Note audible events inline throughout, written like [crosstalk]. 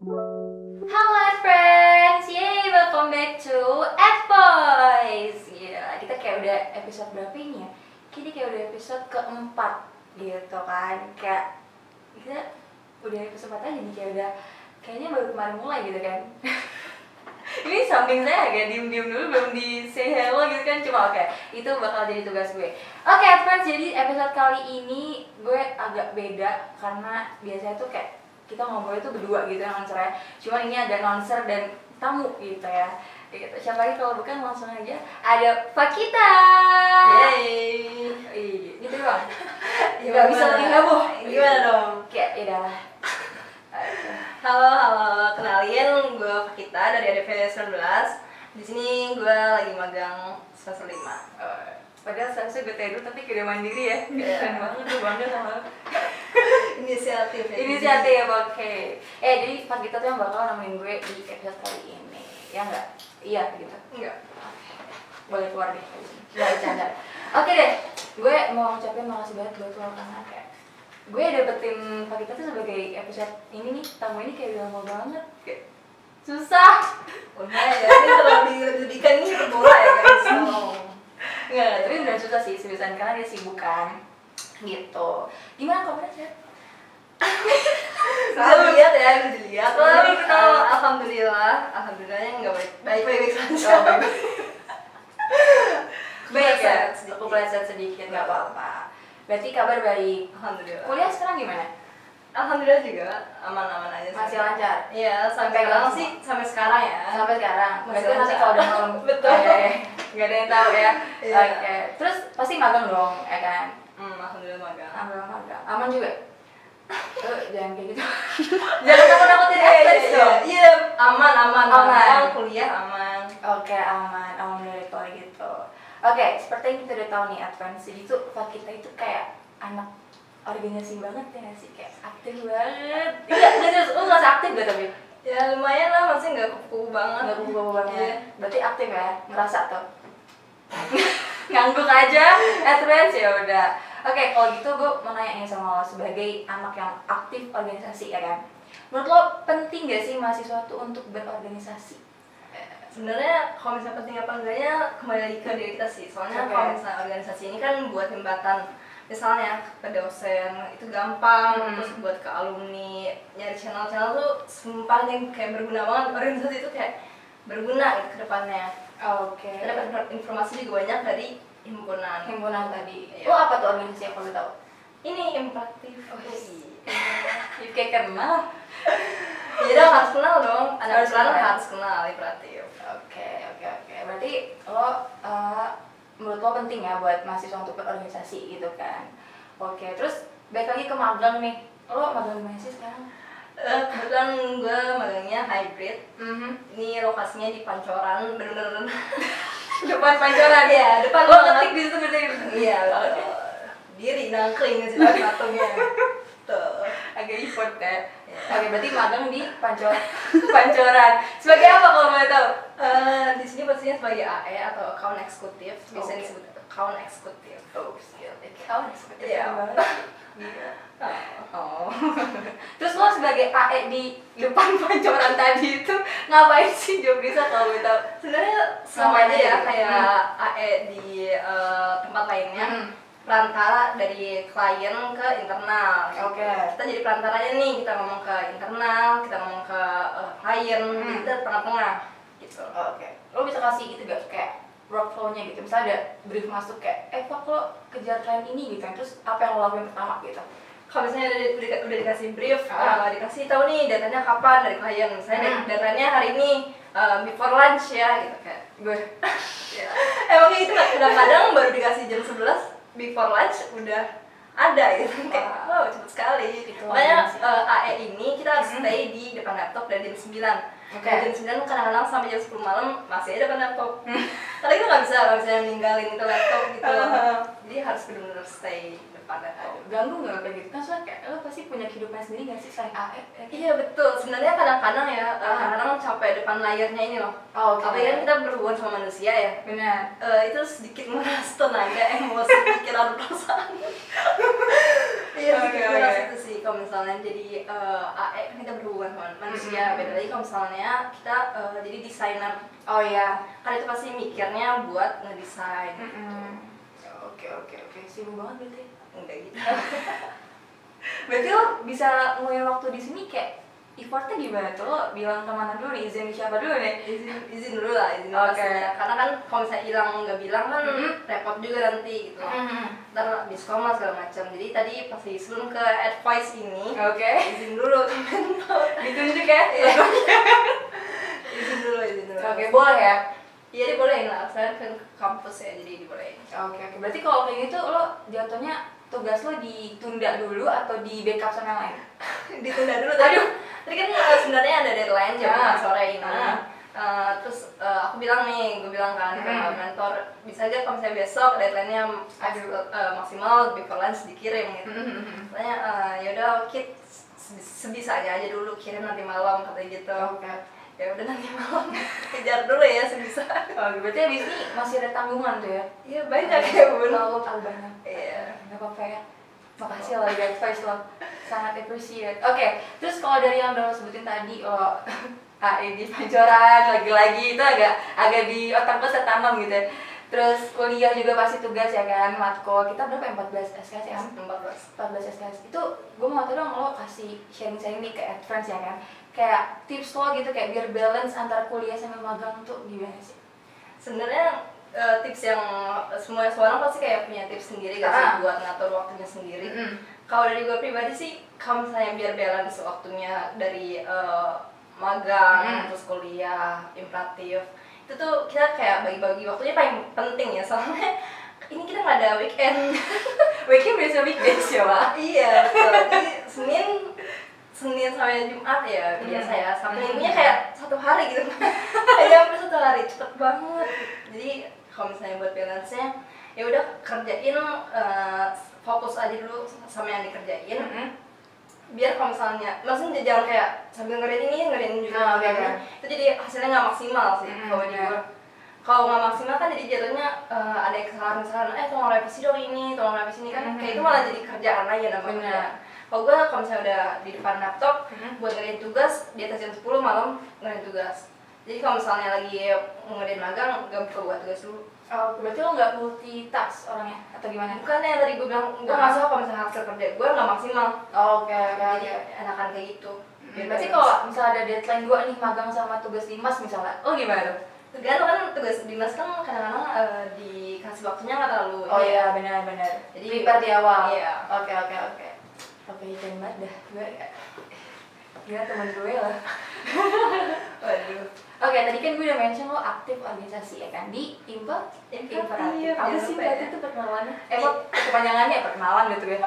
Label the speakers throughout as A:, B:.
A: Halo friends, yay welcome back to Ad Boys. Gila, kita kayak udah episode berapa ini ya? Kita kayak udah episode keempat gitu kan, kayak kita udah episode empat aja nih kayak udah kayaknya baru kemarin mulai gitu kan. [laughs] ini samping saya agak diem-diem dulu belum di say hello gitu kan cuma oke itu bakal jadi tugas gue oke Ad friends jadi episode kali ini gue agak beda karena biasanya tuh kayak kita ngobrol itu berdua gitu yang nonser ya cuman ini ada nonser dan tamu gitu ya gitu. siapa lagi kalau bukan langsung aja ada Fakita
B: Yeay.
A: Ih, gitu doang
B: Gimana?
A: nggak bisa lebih heboh
B: Gimana dong?
A: kayak ya udah lah.
B: Halo, halo. Kenalin, gue Fakita dari ADP 19. Di sini gue lagi magang semester 5.
A: Eh, padahal seharusnya gue tedu tapi udah mandiri ya
B: Iya.
A: keren banget gue bangga sama lo.
B: Inisiatif. ya.
A: inisiatif oke eh jadi Fakita tuh yang bakal nemenin gue di episode kali ini ya nggak iya gitu
B: Enggak.
A: boleh keluar deh nggak bercanda oke deh gue mau ngucapin makasih banget buat lo karena kayak gue dapetin Fakita tuh sebagai episode ini nih tamu ini kayak udah lama banget kayak susah
B: Lumayan ya. Ini kalau dilebih-lebihkan ini bola ya guys. Oh.
A: nggak nggak, tapi udah susah sih seriusan karena dia sibuk kan gitu gimana kabarnya sehat
B: Bisa lihat ya, bisa dilihat.
A: Selalu
B: Jadi,
A: ketawa.
B: eh, Alhamdulillah, alhamdulillahnya nggak baik baik baik saja.
A: [laughs] Oh, baik. baik ya
B: Kepleset sedikit.
A: aku pelajaran sedikit nggak apa-apa berarti kabar baik
B: Alhamdulillah.
A: kuliah sekarang gimana
B: Alhamdulillah juga aman-aman aja. sih.
A: masih lancar
B: Iya,
A: Sampai
B: sampai sekarang
A: langsung.
B: sih sampai sekarang ya.
A: sampai sekarang
B: Masih
A: berarti kan nanti
B: lancar.
A: kalau udah malam
B: [laughs] Betul.
A: Ah, iya, iya. nggak ada yang tahu ya
B: Iya.
A: oke terus pasti magang dong ya kan
B: Hmm, alhamdulillah magang.
A: aman magang aman juga
B: [laughs]
A: Eh, jangan kayak gitu jangan takut takutin
B: Iya, iya,
A: advice
B: iya,
A: dong
B: iya, aman, aman,
A: Aman.
B: magang, kuliah aman.
A: Oke, aman. Alhamdulillah kalau gitu. Oke, seperti yang kita udah tahu nih advance jadi tuh Fakita itu kayak anak organisasi banget ya nggak sih kayak aktif banget. Iya, nggak serius. Lu nggak aktif gak tapi
B: Ya lumayan lah, masih nggak kupu banget.
A: nggak kubu banget.
B: Iya.
A: Berarti aktif ya, ngerasa tuh. [laughs] Ngangguk aja, advance ya udah. Oke, kalau gitu gue mau nanya nih sama lo sebagai anak yang aktif organisasi ya kan. Menurut lo penting gak sih mahasiswa tuh untuk berorganisasi?
B: Sebenarnya kalau misalnya penting apa enggaknya kembali lagi ke diri kita sih. Soalnya
A: Oke.
B: kalau misalnya organisasi ini kan buat jembatan misalnya ke dosen itu gampang
A: Hmm.
B: terus buat ke alumni nyari channel-channel tuh sumpah nih kayak berguna banget organisasi itu kayak berguna gitu ke depannya
A: Oke.
B: Kita dapat infor- informasi juga banyak dari himpunan
A: himpunan tadi.
B: Iya.
A: Lo apa tuh organisasi yang perlu tahu?
B: ini impraktif UI.
A: You kayak kenal.
B: Jadi dong Ya harus kenal dong, anak
A: Harus
B: harus kenal,
A: kenal.
B: harus kenal ya imperatif.
A: Oke, oke, oke. Berarti lo eh, menurut lo penting ya buat mahasiswa untuk berorganisasi gitu kan. Oke, terus balik lagi ke magang nih. Lo magang di mana sih sekarang?
B: Eh, kebetulan gue magangnya hybrid.
A: Mm-hmm.
B: Ini lokasinya di Pancoran, [laughs] bener-bener.
A: Depan pancoran
B: Iya, depan
A: Lo
B: banget.
A: ngetik di situ berarti.
B: Iya, betul. diri nangkling sih patungnya. Tuh.
A: Agak import ya. Oke, berarti magang di pancoran. [laughs] pancoran. Sebagai apa kalau boleh tahu?
B: Eh, di sini pastinya sebagai AE atau account eksekutif,
A: Oke.
B: biasanya disebut account eksekutif.
A: Oh, gila. Kau eksekutif
B: Iya.
A: banget. Gila. Oh.
B: Oh.
A: [laughs] Terus lo sebagai AE di depan [laughs] pancoran tadi itu ngapain sih job bisa kalau gue tahu?
B: Sebenarnya sama aja ya
A: Ngapain aja?
B: kayak AE di eh, tempat lainnya.
A: Hmm.
B: perantara dari klien ke internal.
A: Oke.
B: Kita jadi perantaranya nih, kita ngomong ke internal, kita ngomong ke eh, klien,
A: Hmm.
B: jadi kita tengah-tengah gitu.
A: Oh, Oke. Lo bisa kasih itu gak kayak workflow-nya gitu. Misalnya ada brief masuk kayak, eh Pak lo kejar klien ini gitu. Terus apa yang lo lakuin pertama gitu?
B: Kalau misalnya udah, di- udah, udah dikasih brief,
A: Ah.
B: eh, dikasih tahu nih datanya kapan dari klien, misalnya
A: Hmm.
B: datanya hari ini eh, before lunch ya gitu kayak.
A: Gue.
B: Emangnya Eh, itu nggak- kadang-kadang baru dikasih jam 11 before lunch udah ada gitu [laughs] kayak
A: Wah. Gitu.
B: wow cepet sekali
A: Itu
B: makanya
A: sih.
B: eh, AE ini kita harus
A: Mhm.
B: stay di depan laptop dari jam 9
A: Oke. Hmm.
B: Dari jam 9 kadang-kadang sampai jam 10 malam masih ada depan laptop [laughs]
A: [laughs]
B: Karena kita nggak bisa, nggak bisa ninggalin itu laptop gitu
A: Hahaha.
B: Jadi harus benar-benar stay di depan apa nggak tahu
A: ganggu nggak kayak gitu kan soalnya kayak lo pasti punya kehidupan sendiri nggak sih selain AF ya kan?
B: Iya betul. Sebenarnya kadang-kadang ya, eh,
A: Ah.
B: kadang-kadang sampai depan layarnya ini loh.
A: oh, oke
B: Apalagi kan kita berhubungan sama manusia ya.
A: benar
B: Eh, itu sedikit menguras tenaga, emosi, pikiran,
A: [laughs]
B: perasaan. Iya,
A: Oke,
B: sedikit
A: oke.
B: menguras itu sih kalau misalnya jadi eh, AE kan kita berhubungan sama manusia.
A: Hmm.
B: Beda lagi kalau misalnya kita eh, jadi desainer,
A: oh ya
B: kan itu pasti mikirnya buat ngedesain.
A: Mm-hmm. oke oke oke sibuk banget berarti
B: Enggak gitu.
A: berarti lo bisa ngulangin waktu di sini kayak effortnya gimana tuh lo bilang kemana dulu nih, izin siapa dulu nih
B: [laughs] izin izin dulu lah izin
A: Oke.
B: pastinya. karena kan kalau misalnya hilang nggak bilang kan
A: Mhm.
B: repot juga nanti gitu loh.
A: Mm-hmm.
B: ntar habis koma segala macam jadi tadi pasti sebelum ke advice ini
A: oke [laughs]
B: izin dulu [laughs] ke mentor.
A: ditunjuk ya
B: [laughs] Iya. izin dulu izin dulu
A: oke boleh ya
B: iya dibolehin lah saya kan ke kampus ya jadi dibolehin
A: oke oke berarti kalau kayak gitu lo jatuhnya tugas lo ditunda dulu atau di backup sama yang lain
B: [laughs] ditunda dulu tadi tadi kan eh, sebenarnya ada deadline jam
A: Ah.
B: 5 sore ini
A: Ah.
B: Eh, terus eh, aku bilang nih, gue bilang kan ke
A: Hmm.
B: mentor bisa aja kalau misalnya besok deadline-nya
A: Aduh.
B: eh, maksimal before lunch dikirim gitu.
A: Hmm.
B: katanya eh, yaudah kit se- sebisanya aja dulu kirim nanti malam katanya gitu
A: oke
B: ya udah nanti malam [laughs] kejar dulu ya sebisa
A: oke berarti abis ini masih ada tanggungan tuh ya
B: iya banyak ya bun
A: Terlalu tahu banyak.
B: Iya.
A: Gak apa-apa ya. Makasih lo udah advice lo. Sangat appreciate. Oke, terus kalau dari yang udah lo sebutin tadi [laughs] lo AI di Pancoran lagi-lagi itu agak agak di otak gue setamam gitu. ya. Terus kuliah juga pasti tugas ya kan, matkul. Kita berapa ya? 14 SKS ya? Am?
B: empat belas
A: 14 SKS. Itu gue mau tau dong lo kasih sharing-sharing nih ke advance ya kan. Kayak tips lo gitu kayak biar balance antara kuliah sama magang tuh gimana sih?
B: sebenarnya eh, tips yang semua seorang pasti kayak punya tips sendiri gak sih
A: Ah.
B: buat ngatur waktunya sendiri kalau dari gue pribadi sih kalau misalnya biar balance waktunya dari eh, magang
A: Mm.
B: terus kuliah imperatif itu tuh kita kayak bagi-bagi waktunya paling penting ya [laughs] soalnya ini kita nggak ada weekend
A: Weekend biasa weekdays ya, Wak.
B: iya betul jadi senin senin sampai jumat ya
A: Hmm.
B: biasa ya sabtu
A: Hmm.
B: minggunya kayak satu hari gitu [laughs] kayak hampir satu hari cepet banget jadi kalau misalnya buat balance nya ya udah kerjain eh, fokus aja dulu sama yang dikerjain
A: Mm-mm.
B: biar kalau misalnya maksudnya jangan kayak sambil ngerjain ini ngerjain juga
A: Oh, oke,
B: ngerjain ini. itu jadi hasilnya nggak maksimal sih
A: Mm,
B: kalau di
A: iya.
B: gua. kalau nggak maksimal kan jadi jatuhnya eh, ada kesalahan kesalahan eh tolong revisi dong ini tolong revisi ini kan
A: Mm.
B: kayak itu malah jadi kerjaan aja namanya
A: Bener.
B: kerjaan. kalau gue kalau misalnya udah di depan laptop
A: Mm.
B: buat ngerjain tugas di atas jam 10 malam ngerjain tugas jadi kalau misalnya lagi mau ngerjain magang gak perlu buat tugas dulu
A: Oh, berarti lo nggak multitask orangnya atau gimana?
B: bukan yang tadi gue bilang gue
A: Ah.
B: nggak suka kalau misalnya hasil kerja gue nggak maksimal
A: Oh, oke, oke,
B: jadi
A: oke.
B: enakan kayak gitu Biar
A: Hmm. Berarti
B: balance.
A: kalau misalnya ada deadline gua nih magang sama tugas dimas misalnya, lo gimana? tuh?
B: tergantung kan tugas dinas kan kadang-kadang eh, dikasih waktunya nggak terlalu
A: Oh iya, benar-benar.
B: Jadi-
A: Jadi prepare di awal.
B: Iya.
A: Oke, oke, oke. Oke, keren banget dah. Gue [laughs] Gila temen gue lah.
B: waduh
A: Oke, tadi kan gue udah mention lo aktif organisasi ya kan di Impel
B: Imperatif,
A: Imperatif. Apa
B: jangan
A: sih
B: lupa
A: berarti
B: ya.
A: itu perkenalannya? Eh, kok kepanjangannya ya, perkenalan gitu ya?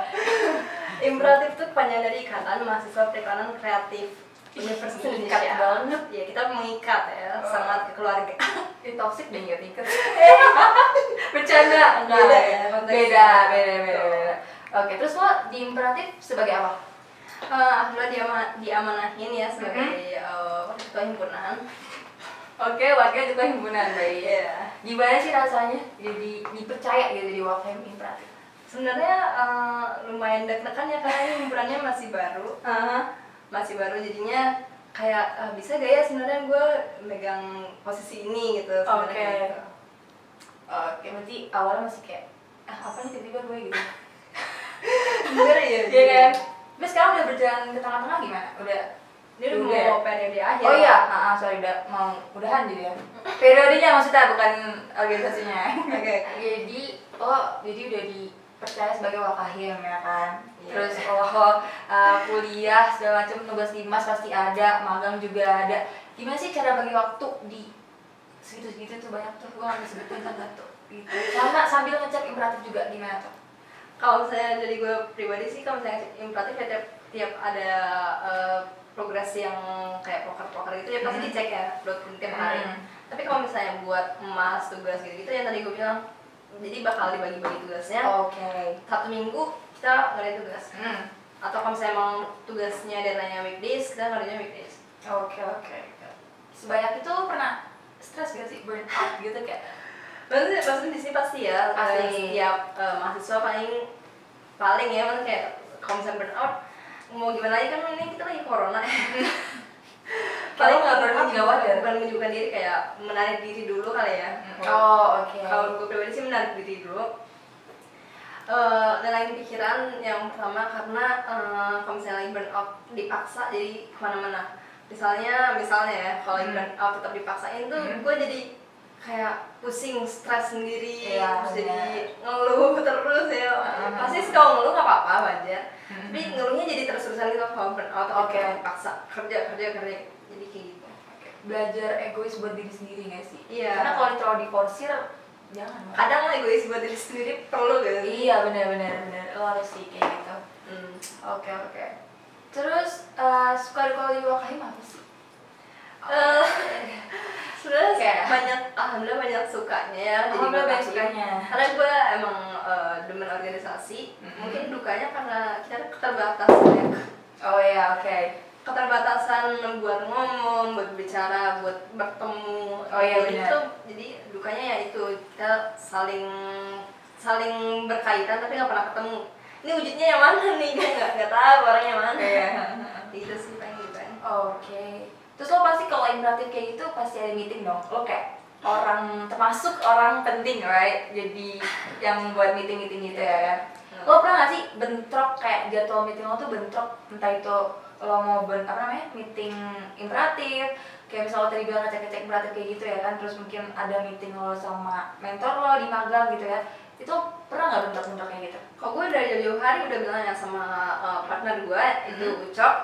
B: imperatif tuh kepanjangan dari ikatan mahasiswa perikanan kreatif Universitas
A: Ih,
B: Indonesia
A: ikat banget. Oh.
B: ya kita mengikat ya sangat ke
A: [laughs]
B: keluarga Eh,
A: Ini toxic deh nggak [laughs] tiket. Bercanda enggak
B: Beda ya, konteksnya.
A: Beda, beda, beda,
B: Betul.
A: beda. Oke, terus lo di imperatif sebagai apa?
B: Eh, alhamdulillah diama- diamanahin ya
A: Mm-hmm.
B: sebagai eh, ketua himpunan
A: Oke, wakil juga himpunan baik.
B: Iya.
A: Gimana sih rasanya jadi dipercaya gitu jadi wakil imperatif?
B: sebenarnya eh, lumayan deg-degan ya karena ini himpunannya masih baru
A: Uh-huh.
B: masih baru jadinya kayak ah, bisa gak ya sebenarnya gue megang posisi ini gitu sebenarnya
A: Oke.
B: kayak gitu.
A: Oke, berarti awalnya masih kayak ah, apa nih tiba-tiba gue gitu.
B: bener ya
A: Iya kan? Tapi sekarang udah berjalan ke tengah-tengah gimana? Udah
B: dia udah
A: Udah.
B: mau periode akhir
A: Oh iya, ah, ah, sorry, udah mau udahan jadi ya. Periodenya maksudnya bukan organisasinya.
B: oke
A: jadi lo jadi udah dipercaya sebagai wakahim ya kan
B: Iya.
A: terus lo uh, kuliah segala macam tugas dimas pasti ada magang juga ada gimana sih cara bagi waktu di segitu segitu tuh banyak tuh gua nggak sebutin kan nggak tuh gitu. sama sambil ngecek imperatif juga gimana tuh
B: kalau misalnya dari gue pribadi sih kalau misalnya imperatif ya tiap, tiap ada eh, progres yang kayak proker-proker gitu ya pasti
A: Hmm.
B: dicek ya buat tiap hari
A: Hmm.
B: tapi kalau misalnya buat emas
A: Ya.
B: tugas gitu gitu yang tadi gue bilang jadi bakal dibagi-bagi tugasnya
A: oke
B: satu minggu kita kita ngerjain tugas
A: Oh. Hmm.
B: atau kalau misalnya emang tugasnya deadline-nya weekdays kita ngerjainnya weekdays
A: Oke oke. oke. Sebanyak itu pernah stres gak sih burn out gitu kayak
B: maksudnya maksudnya di sini pasti ya
A: Pasti.
B: eh, setiap eh, mahasiswa paling paling ya maksudnya kayak kalau misalnya burnout mau gimana lagi kan ini kita lagi corona
A: Kalau nggak burnout nggak wajar.
B: bukan menunjukkan diri kayak menarik diri dulu kali ya
A: Oh oke.
B: kalau gue pribadi sih menarik diri dulu Eh, dan lain pikiran yang pertama karena eh, kalau misalnya lagi burn out dipaksa jadi kemana-mana misalnya misalnya ya kalau lagi
A: Hmm.
B: burn out tetap dipaksain tuh
A: Hmm.
B: gue jadi kayak pusing stres sendiri
A: Iya,
B: terus
A: bener.
B: jadi ngeluh [laughs] terus ya
A: Ah.
B: pasti sih kalau ngeluh nggak apa-apa wajar
A: Hmm.
B: tapi ngeluhnya jadi terus-terusan gitu kalau burn out
A: Oke.
B: dipaksa kerja kerja kerja jadi kayak gitu
A: Belajar egois buat diri sendiri gak sih?
B: Iya.
A: Karena kalau terlalu diforsir jangan.
B: kadang egois buat diri sendiri perlu gitu
A: Iya benar-benar benar. Lo harus sih kayak gitu.
B: Hmm.
A: Oke oke. Terus eh, suka duka di Wakaim apa sih?
B: Eh, [laughs] sebenarnya
A: Kayak-
B: banyak alhamdulillah banyak sukanya ya jadi
A: Alhamdulillah banyak
B: makasih.
A: sukanya.
B: karena gue emang eh, demen organisasi
A: Mhm.
B: mungkin dukanya karena kita keterbatasan ya.
A: Oh iya oke.
B: keterbatasan buat ngomong buat bicara buat bertemu
A: Oh, iya,
B: jadi
A: benar.
B: itu jadi dukanya ya itu kita saling saling berkaitan tapi nggak pernah ketemu ini wujudnya yang mana nih gue nggak nggak tahu orangnya yang mana
A: Iya.
B: gitu sih pengen gitu kan
A: Oke. Terus lo pasti kalau imperatif kayak gitu pasti ada meeting dong. Lo kayak orang termasuk orang penting, right? Jadi yang buat meeting-meeting gitu ya kan. Lo pernah gak sih bentrok kayak jadwal meeting lo tuh bentrok entah itu lo mau ben, apa namanya meeting imperatif kayak misalnya lo tadi bilang ngecek-ngecek imperatif kayak gitu ya kan terus mungkin ada meeting lo sama mentor lo di magang gitu ya itu pernah nggak bentrok-bentrok kayak gitu
B: Kok gue dari jauh-jauh hari udah bilang ya sama uh, partner gue itu Ucok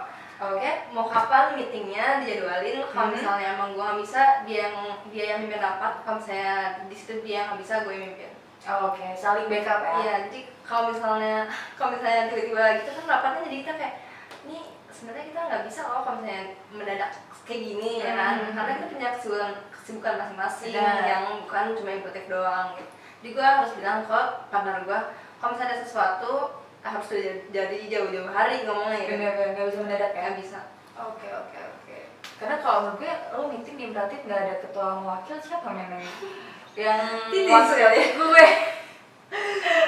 A: oke
B: Oke, mau kapan meetingnya dijadwalin? Kalau
A: Mhm.
B: misalnya emang gue nggak bisa, dia yang dia yang mimpin rapat. Kalau misalnya di situ dia nggak bisa, gue yang mimpin.
A: oke saling backup ya
B: Iya, jadi kalau misalnya kalau misalnya tiba-tiba gitu kan rapatnya jadi kita kayak ini sebenarnya kita nggak bisa loh kalau misalnya mendadak kayak gini ya kan
A: Mhm.
B: karena kita punya kesibukan kesibukan masing-masing
A: Benar.
B: yang bukan cuma imputif doang gitu. jadi gue harus bilang ke partner gue kalau misalnya ada sesuatu harus dari- dari jauh-jauh hari ngomongnya gitu
A: Iya, bener-bener nggak bisa mendadak ya
B: nggak bisa
A: Oke oke oke. Karena kalau menurut gue lo meeting di Imperatif nggak ada ketua wakil siapa memang yang
B: Titis
A: wakil
B: kali.
A: [laughs] gue.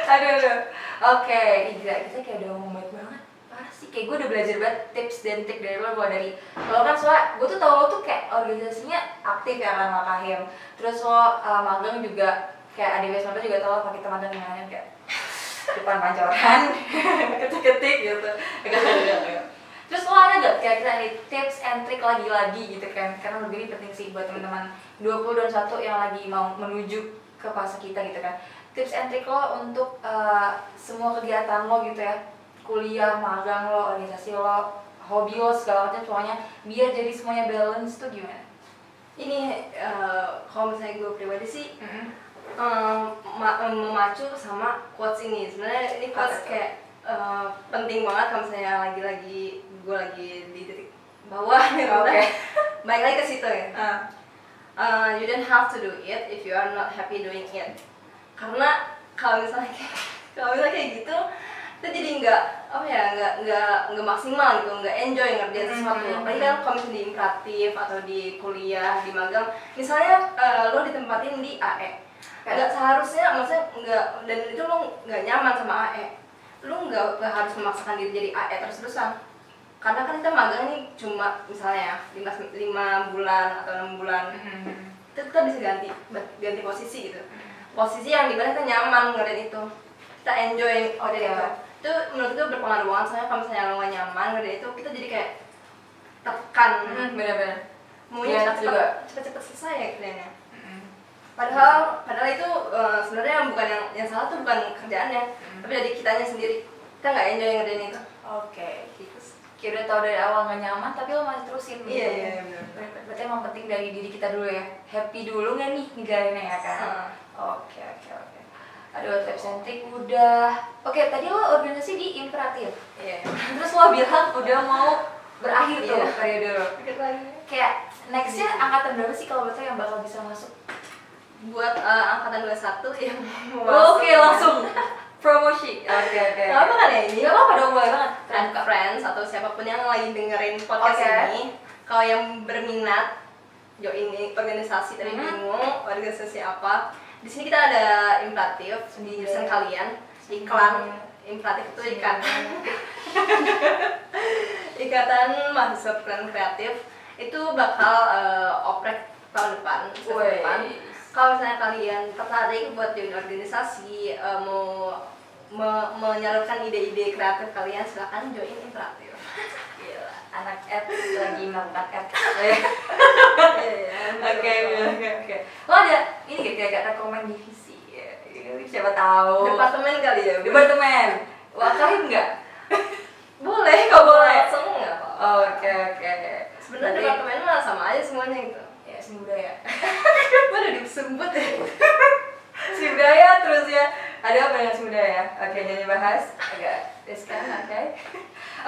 A: aduh aduh. Oke, ih, gila kita kayak udah ngomong baik banget. Parah sih, kayak gue udah belajar banget tips dan trik dari lo mulai dari lo kan soalnya gue tuh tau lo tuh kayak organisasinya aktif ya kan Makahim. Terus lo uh, magang juga kayak ADW Sonto juga tau lo pakai teman yang lain kayak depan pancoran [laughs] ketik-ketik gitu Enggak, enggak, enggak. terus lo ada gak kira-kira nih tips and trick lagi-lagi gitu kan karena lebih ini penting sih buat teman-teman 20 dan 1 yang lagi mau menuju ke fase kita gitu kan tips and trick lo untuk eh, semua kegiatan lo gitu ya kuliah, magang lo, organisasi lo, hobi lo segala macam semuanya biar jadi semuanya balance tuh gimana?
B: ini eh, kalau misalnya gue pribadi sih
A: Mm-hmm.
B: em, Eh, ma- em, memacu sama quotes ini sebenarnya ini
A: Apa
B: quotes
A: tuh?
B: kayak eh, penting banget kalau misalnya lagi-lagi gue lagi di titik bawah gitu [laughs]
A: Oke.
B: baik lagi ke situ ya
A: Ah,
B: Eh, you don't have to do it if you are not happy doing it karena kalau misalnya kayak, [laughs] kalau misalnya kayak gitu kita jadi nggak apa ya nggak nggak nggak maksimal gitu nggak enjoy ngerjain
A: Mhm.
B: sesuatu apalagi kan kalau misalnya di imperatif atau di kuliah di magang misalnya eh, lo ditempatin di AE
A: Kayak-
B: nggak seharusnya maksudnya nggak dan itu lo nggak nyaman sama AE lo nggak nggak harus memaksakan diri jadi AE terus terusan karena kan kita magang nih cuma misalnya ya, lima, lima bulan atau enam bulan
A: mm-hmm.
B: itu kita bisa ganti ganti posisi gitu posisi yang dimana kita nyaman ngeliat itu kita enjoy ngeliat
A: Oke.
B: itu itu menurut gue berpengaruh banget soalnya kalau misalnya lo gak nyaman ngeliat itu kita jadi kayak tekan
A: Hmm, bener-bener.
B: maunya
A: Iya,
B: cepet,
A: juga.
B: cepet cepet selesai ya kerjanya
A: Mm-mm.
B: padahal padahal itu eh, sebenarnya yang bukan yang yang salah tuh bukan kerjaannya
A: Hmm.
B: tapi dari kitanya sendiri kita nggak enjoy ngerjain itu
A: Oke.
B: gitu sih.
A: kayak udah tau dari awal gak nyaman tapi lo masih terusin gitu.
B: Iya, iya, iya, benar.
A: Ber- berarti emang penting dari diri kita dulu ya happy dulu gak nih ngejalaninnya ya kan
B: Heeh.
A: oke oke oke aduh tips and trick udah oke tadi lo organisasi di imperatif [laughs]
B: iya
A: terus lo bilang udah mau berakhir tuh
B: Iya.
A: periode lo
B: Dikit lagi
A: kayak nextnya angkatan berapa sih kalau betul yang bakal bisa masuk
B: buat eh, angkatan 21 yang mau
A: oke
B: masuk. [laughs]
A: langsung promosi oke oke
B: Gak apa kan ya ini?
A: Gak apa-apa dong, boleh banget. Keren
B: Friends,
A: kok.
B: friends atau siapapun yang lagi dengerin podcast
A: Oke.
B: ini kalau yang berminat join ini organisasi tapi
A: Mhm.
B: bingung organisasi apa di sini kita ada imperatif
A: Iya.
B: di jurusan kalian
A: Iya.
B: iklan imperatif itu ikatan ikatan mahasiswa peran kreatif itu bakal eh, oprek tahun depan semester
A: Wih.
B: depan kalau misalnya kalian tertarik buat join organisasi eh, mau me- menyalurkan ide-ide kreatif kalian silahkan join imperatif
A: Gila, anak apps lagi melakukan apps.
B: Iya,
A: Oke,
B: betul.
A: oke, oke. Lo ada ini gak kira-kira rekomen divisi? Ya, Siapa tahu.
B: departemen kali ya Bu?
A: Departemen. Wakarin nggak?
B: boleh
A: Nggak boleh.
B: semua nggak apa
A: Oke, oke.
B: sebenarnya
A: Berarti-
B: departemen mah sama aja semuanya gitu
A: ya seni budaya.
B: baru Kan disebut ya
A: seni budaya terus ya. Ada apa dengan seni budaya? Oke, jadi bahas agak riskan, oke. [laughs]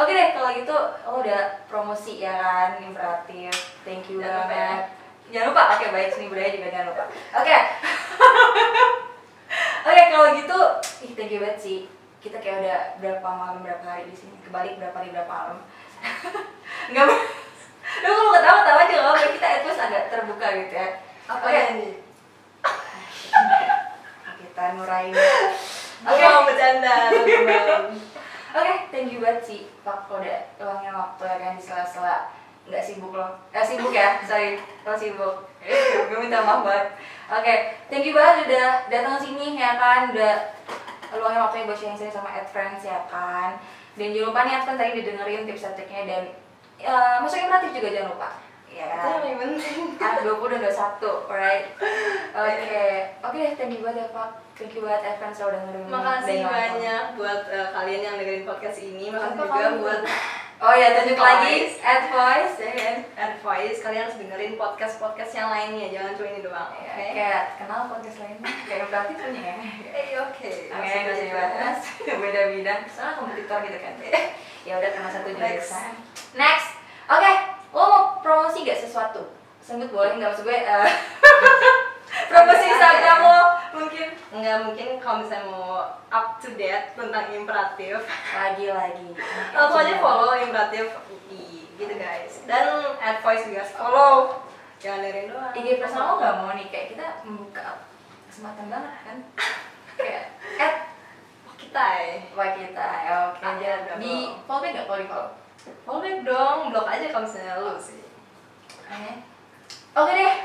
A: Oke deh, kalau gitu lo udah promosi ya kan, imperatif. Thank you
B: Jangan lupa ya.
A: banget. Jangan lupa, oke baik seni budaya juga jangan lupa. Oke. [laughs] Oke, kalau gitu, ih thank you banget sih. Kita kayak udah berapa malam berapa hari di sini, kebalik berapa hari berapa malam. [laughs] Enggak mau. [laughs] Lu kalau ketawa tawa aja nggak apa-apa. Kita at least agak terbuka gitu ya.
B: apa
A: Oke.
B: ya ini
A: kita nuraini
B: Gua
A: oke
B: mau bercanda tapi belum.
A: oke thank you banget sih pak kalau udah luangin waktu ya kan di sela-sela nggak sibuk lo eh sibuk ya sorry lo sibuk [laughs] gue minta maaf banget oke thank you banget udah datang sini ya kan udah luangin waktunya buat sharing sharing sama Ed Friends ya kan dan jangan lupa nih Ed Friends tadi didengerin tips dan triknya dan eh masukin kreatif juga jangan lupa ya
B: [laughs] itu
A: kan
B: yang paling penting
A: anak 20 dan 21, alright? Oke, oke deh, thank you banget ya Pak Thank you banget Evan selalu dengerin
B: makasih
A: dan nonton.
B: banyak buat eh, kalian yang dengerin podcast ini makasih
A: Apa
B: juga
A: kamu?
B: buat
A: Oh iya, tunjuk lagi,
B: Voice.
A: add voice,
B: Iya
A: ya kan?
B: advice kalian harus dengerin podcast podcast yang lainnya jangan cuma ini doang oke
A: Ya, Kayak kenal podcast lain, kayak berarti punya ya
B: Eh, oke
A: Oke, gak usah dibahas, [laughs] beda bidang, soalnya kompetitor gitu kan [laughs] Ya udah, kena satu
B: Next.
A: jurusan Next, oke, lo mau promosi gak sesuatu? Sebut boleh nggak, maksud gue eh, [laughs] Promosi
B: Ada, ada.
A: Instagram lo, mungkin
B: nggak mungkin kalau misalnya mau up to date tentang imperatif
A: Lagi-lagi
B: langsung
A: Iya.
B: aja follow imperatif UI gitu guys dan advice juga harus follow jangan dengerin doang
A: IG personal lo gak mau nih kayak kita membuka kesempatan banget kan kayak at
B: kita eh
A: kita ya oke
B: Ah,
A: aja
B: udah
A: di
B: belum.
A: follow back gak kalau di follow
B: follow back dong blok aja kalau misalnya lu sih
A: Oke. oke deh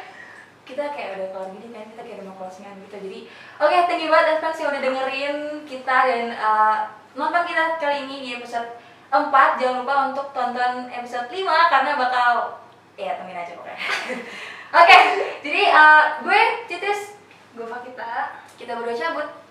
A: kita kayak udah kelar gini kan kita kayak udah mau closingan gitu jadi oke thank you banget Advance yang udah dengerin kita dan eh, nonton kita kali ini di episode 4 jangan lupa untuk tonton episode 5 karena bakal ya temenin aja pokoknya [laughs] oke jadi eh, gue Citis
B: gue kita
A: kita berdua cabut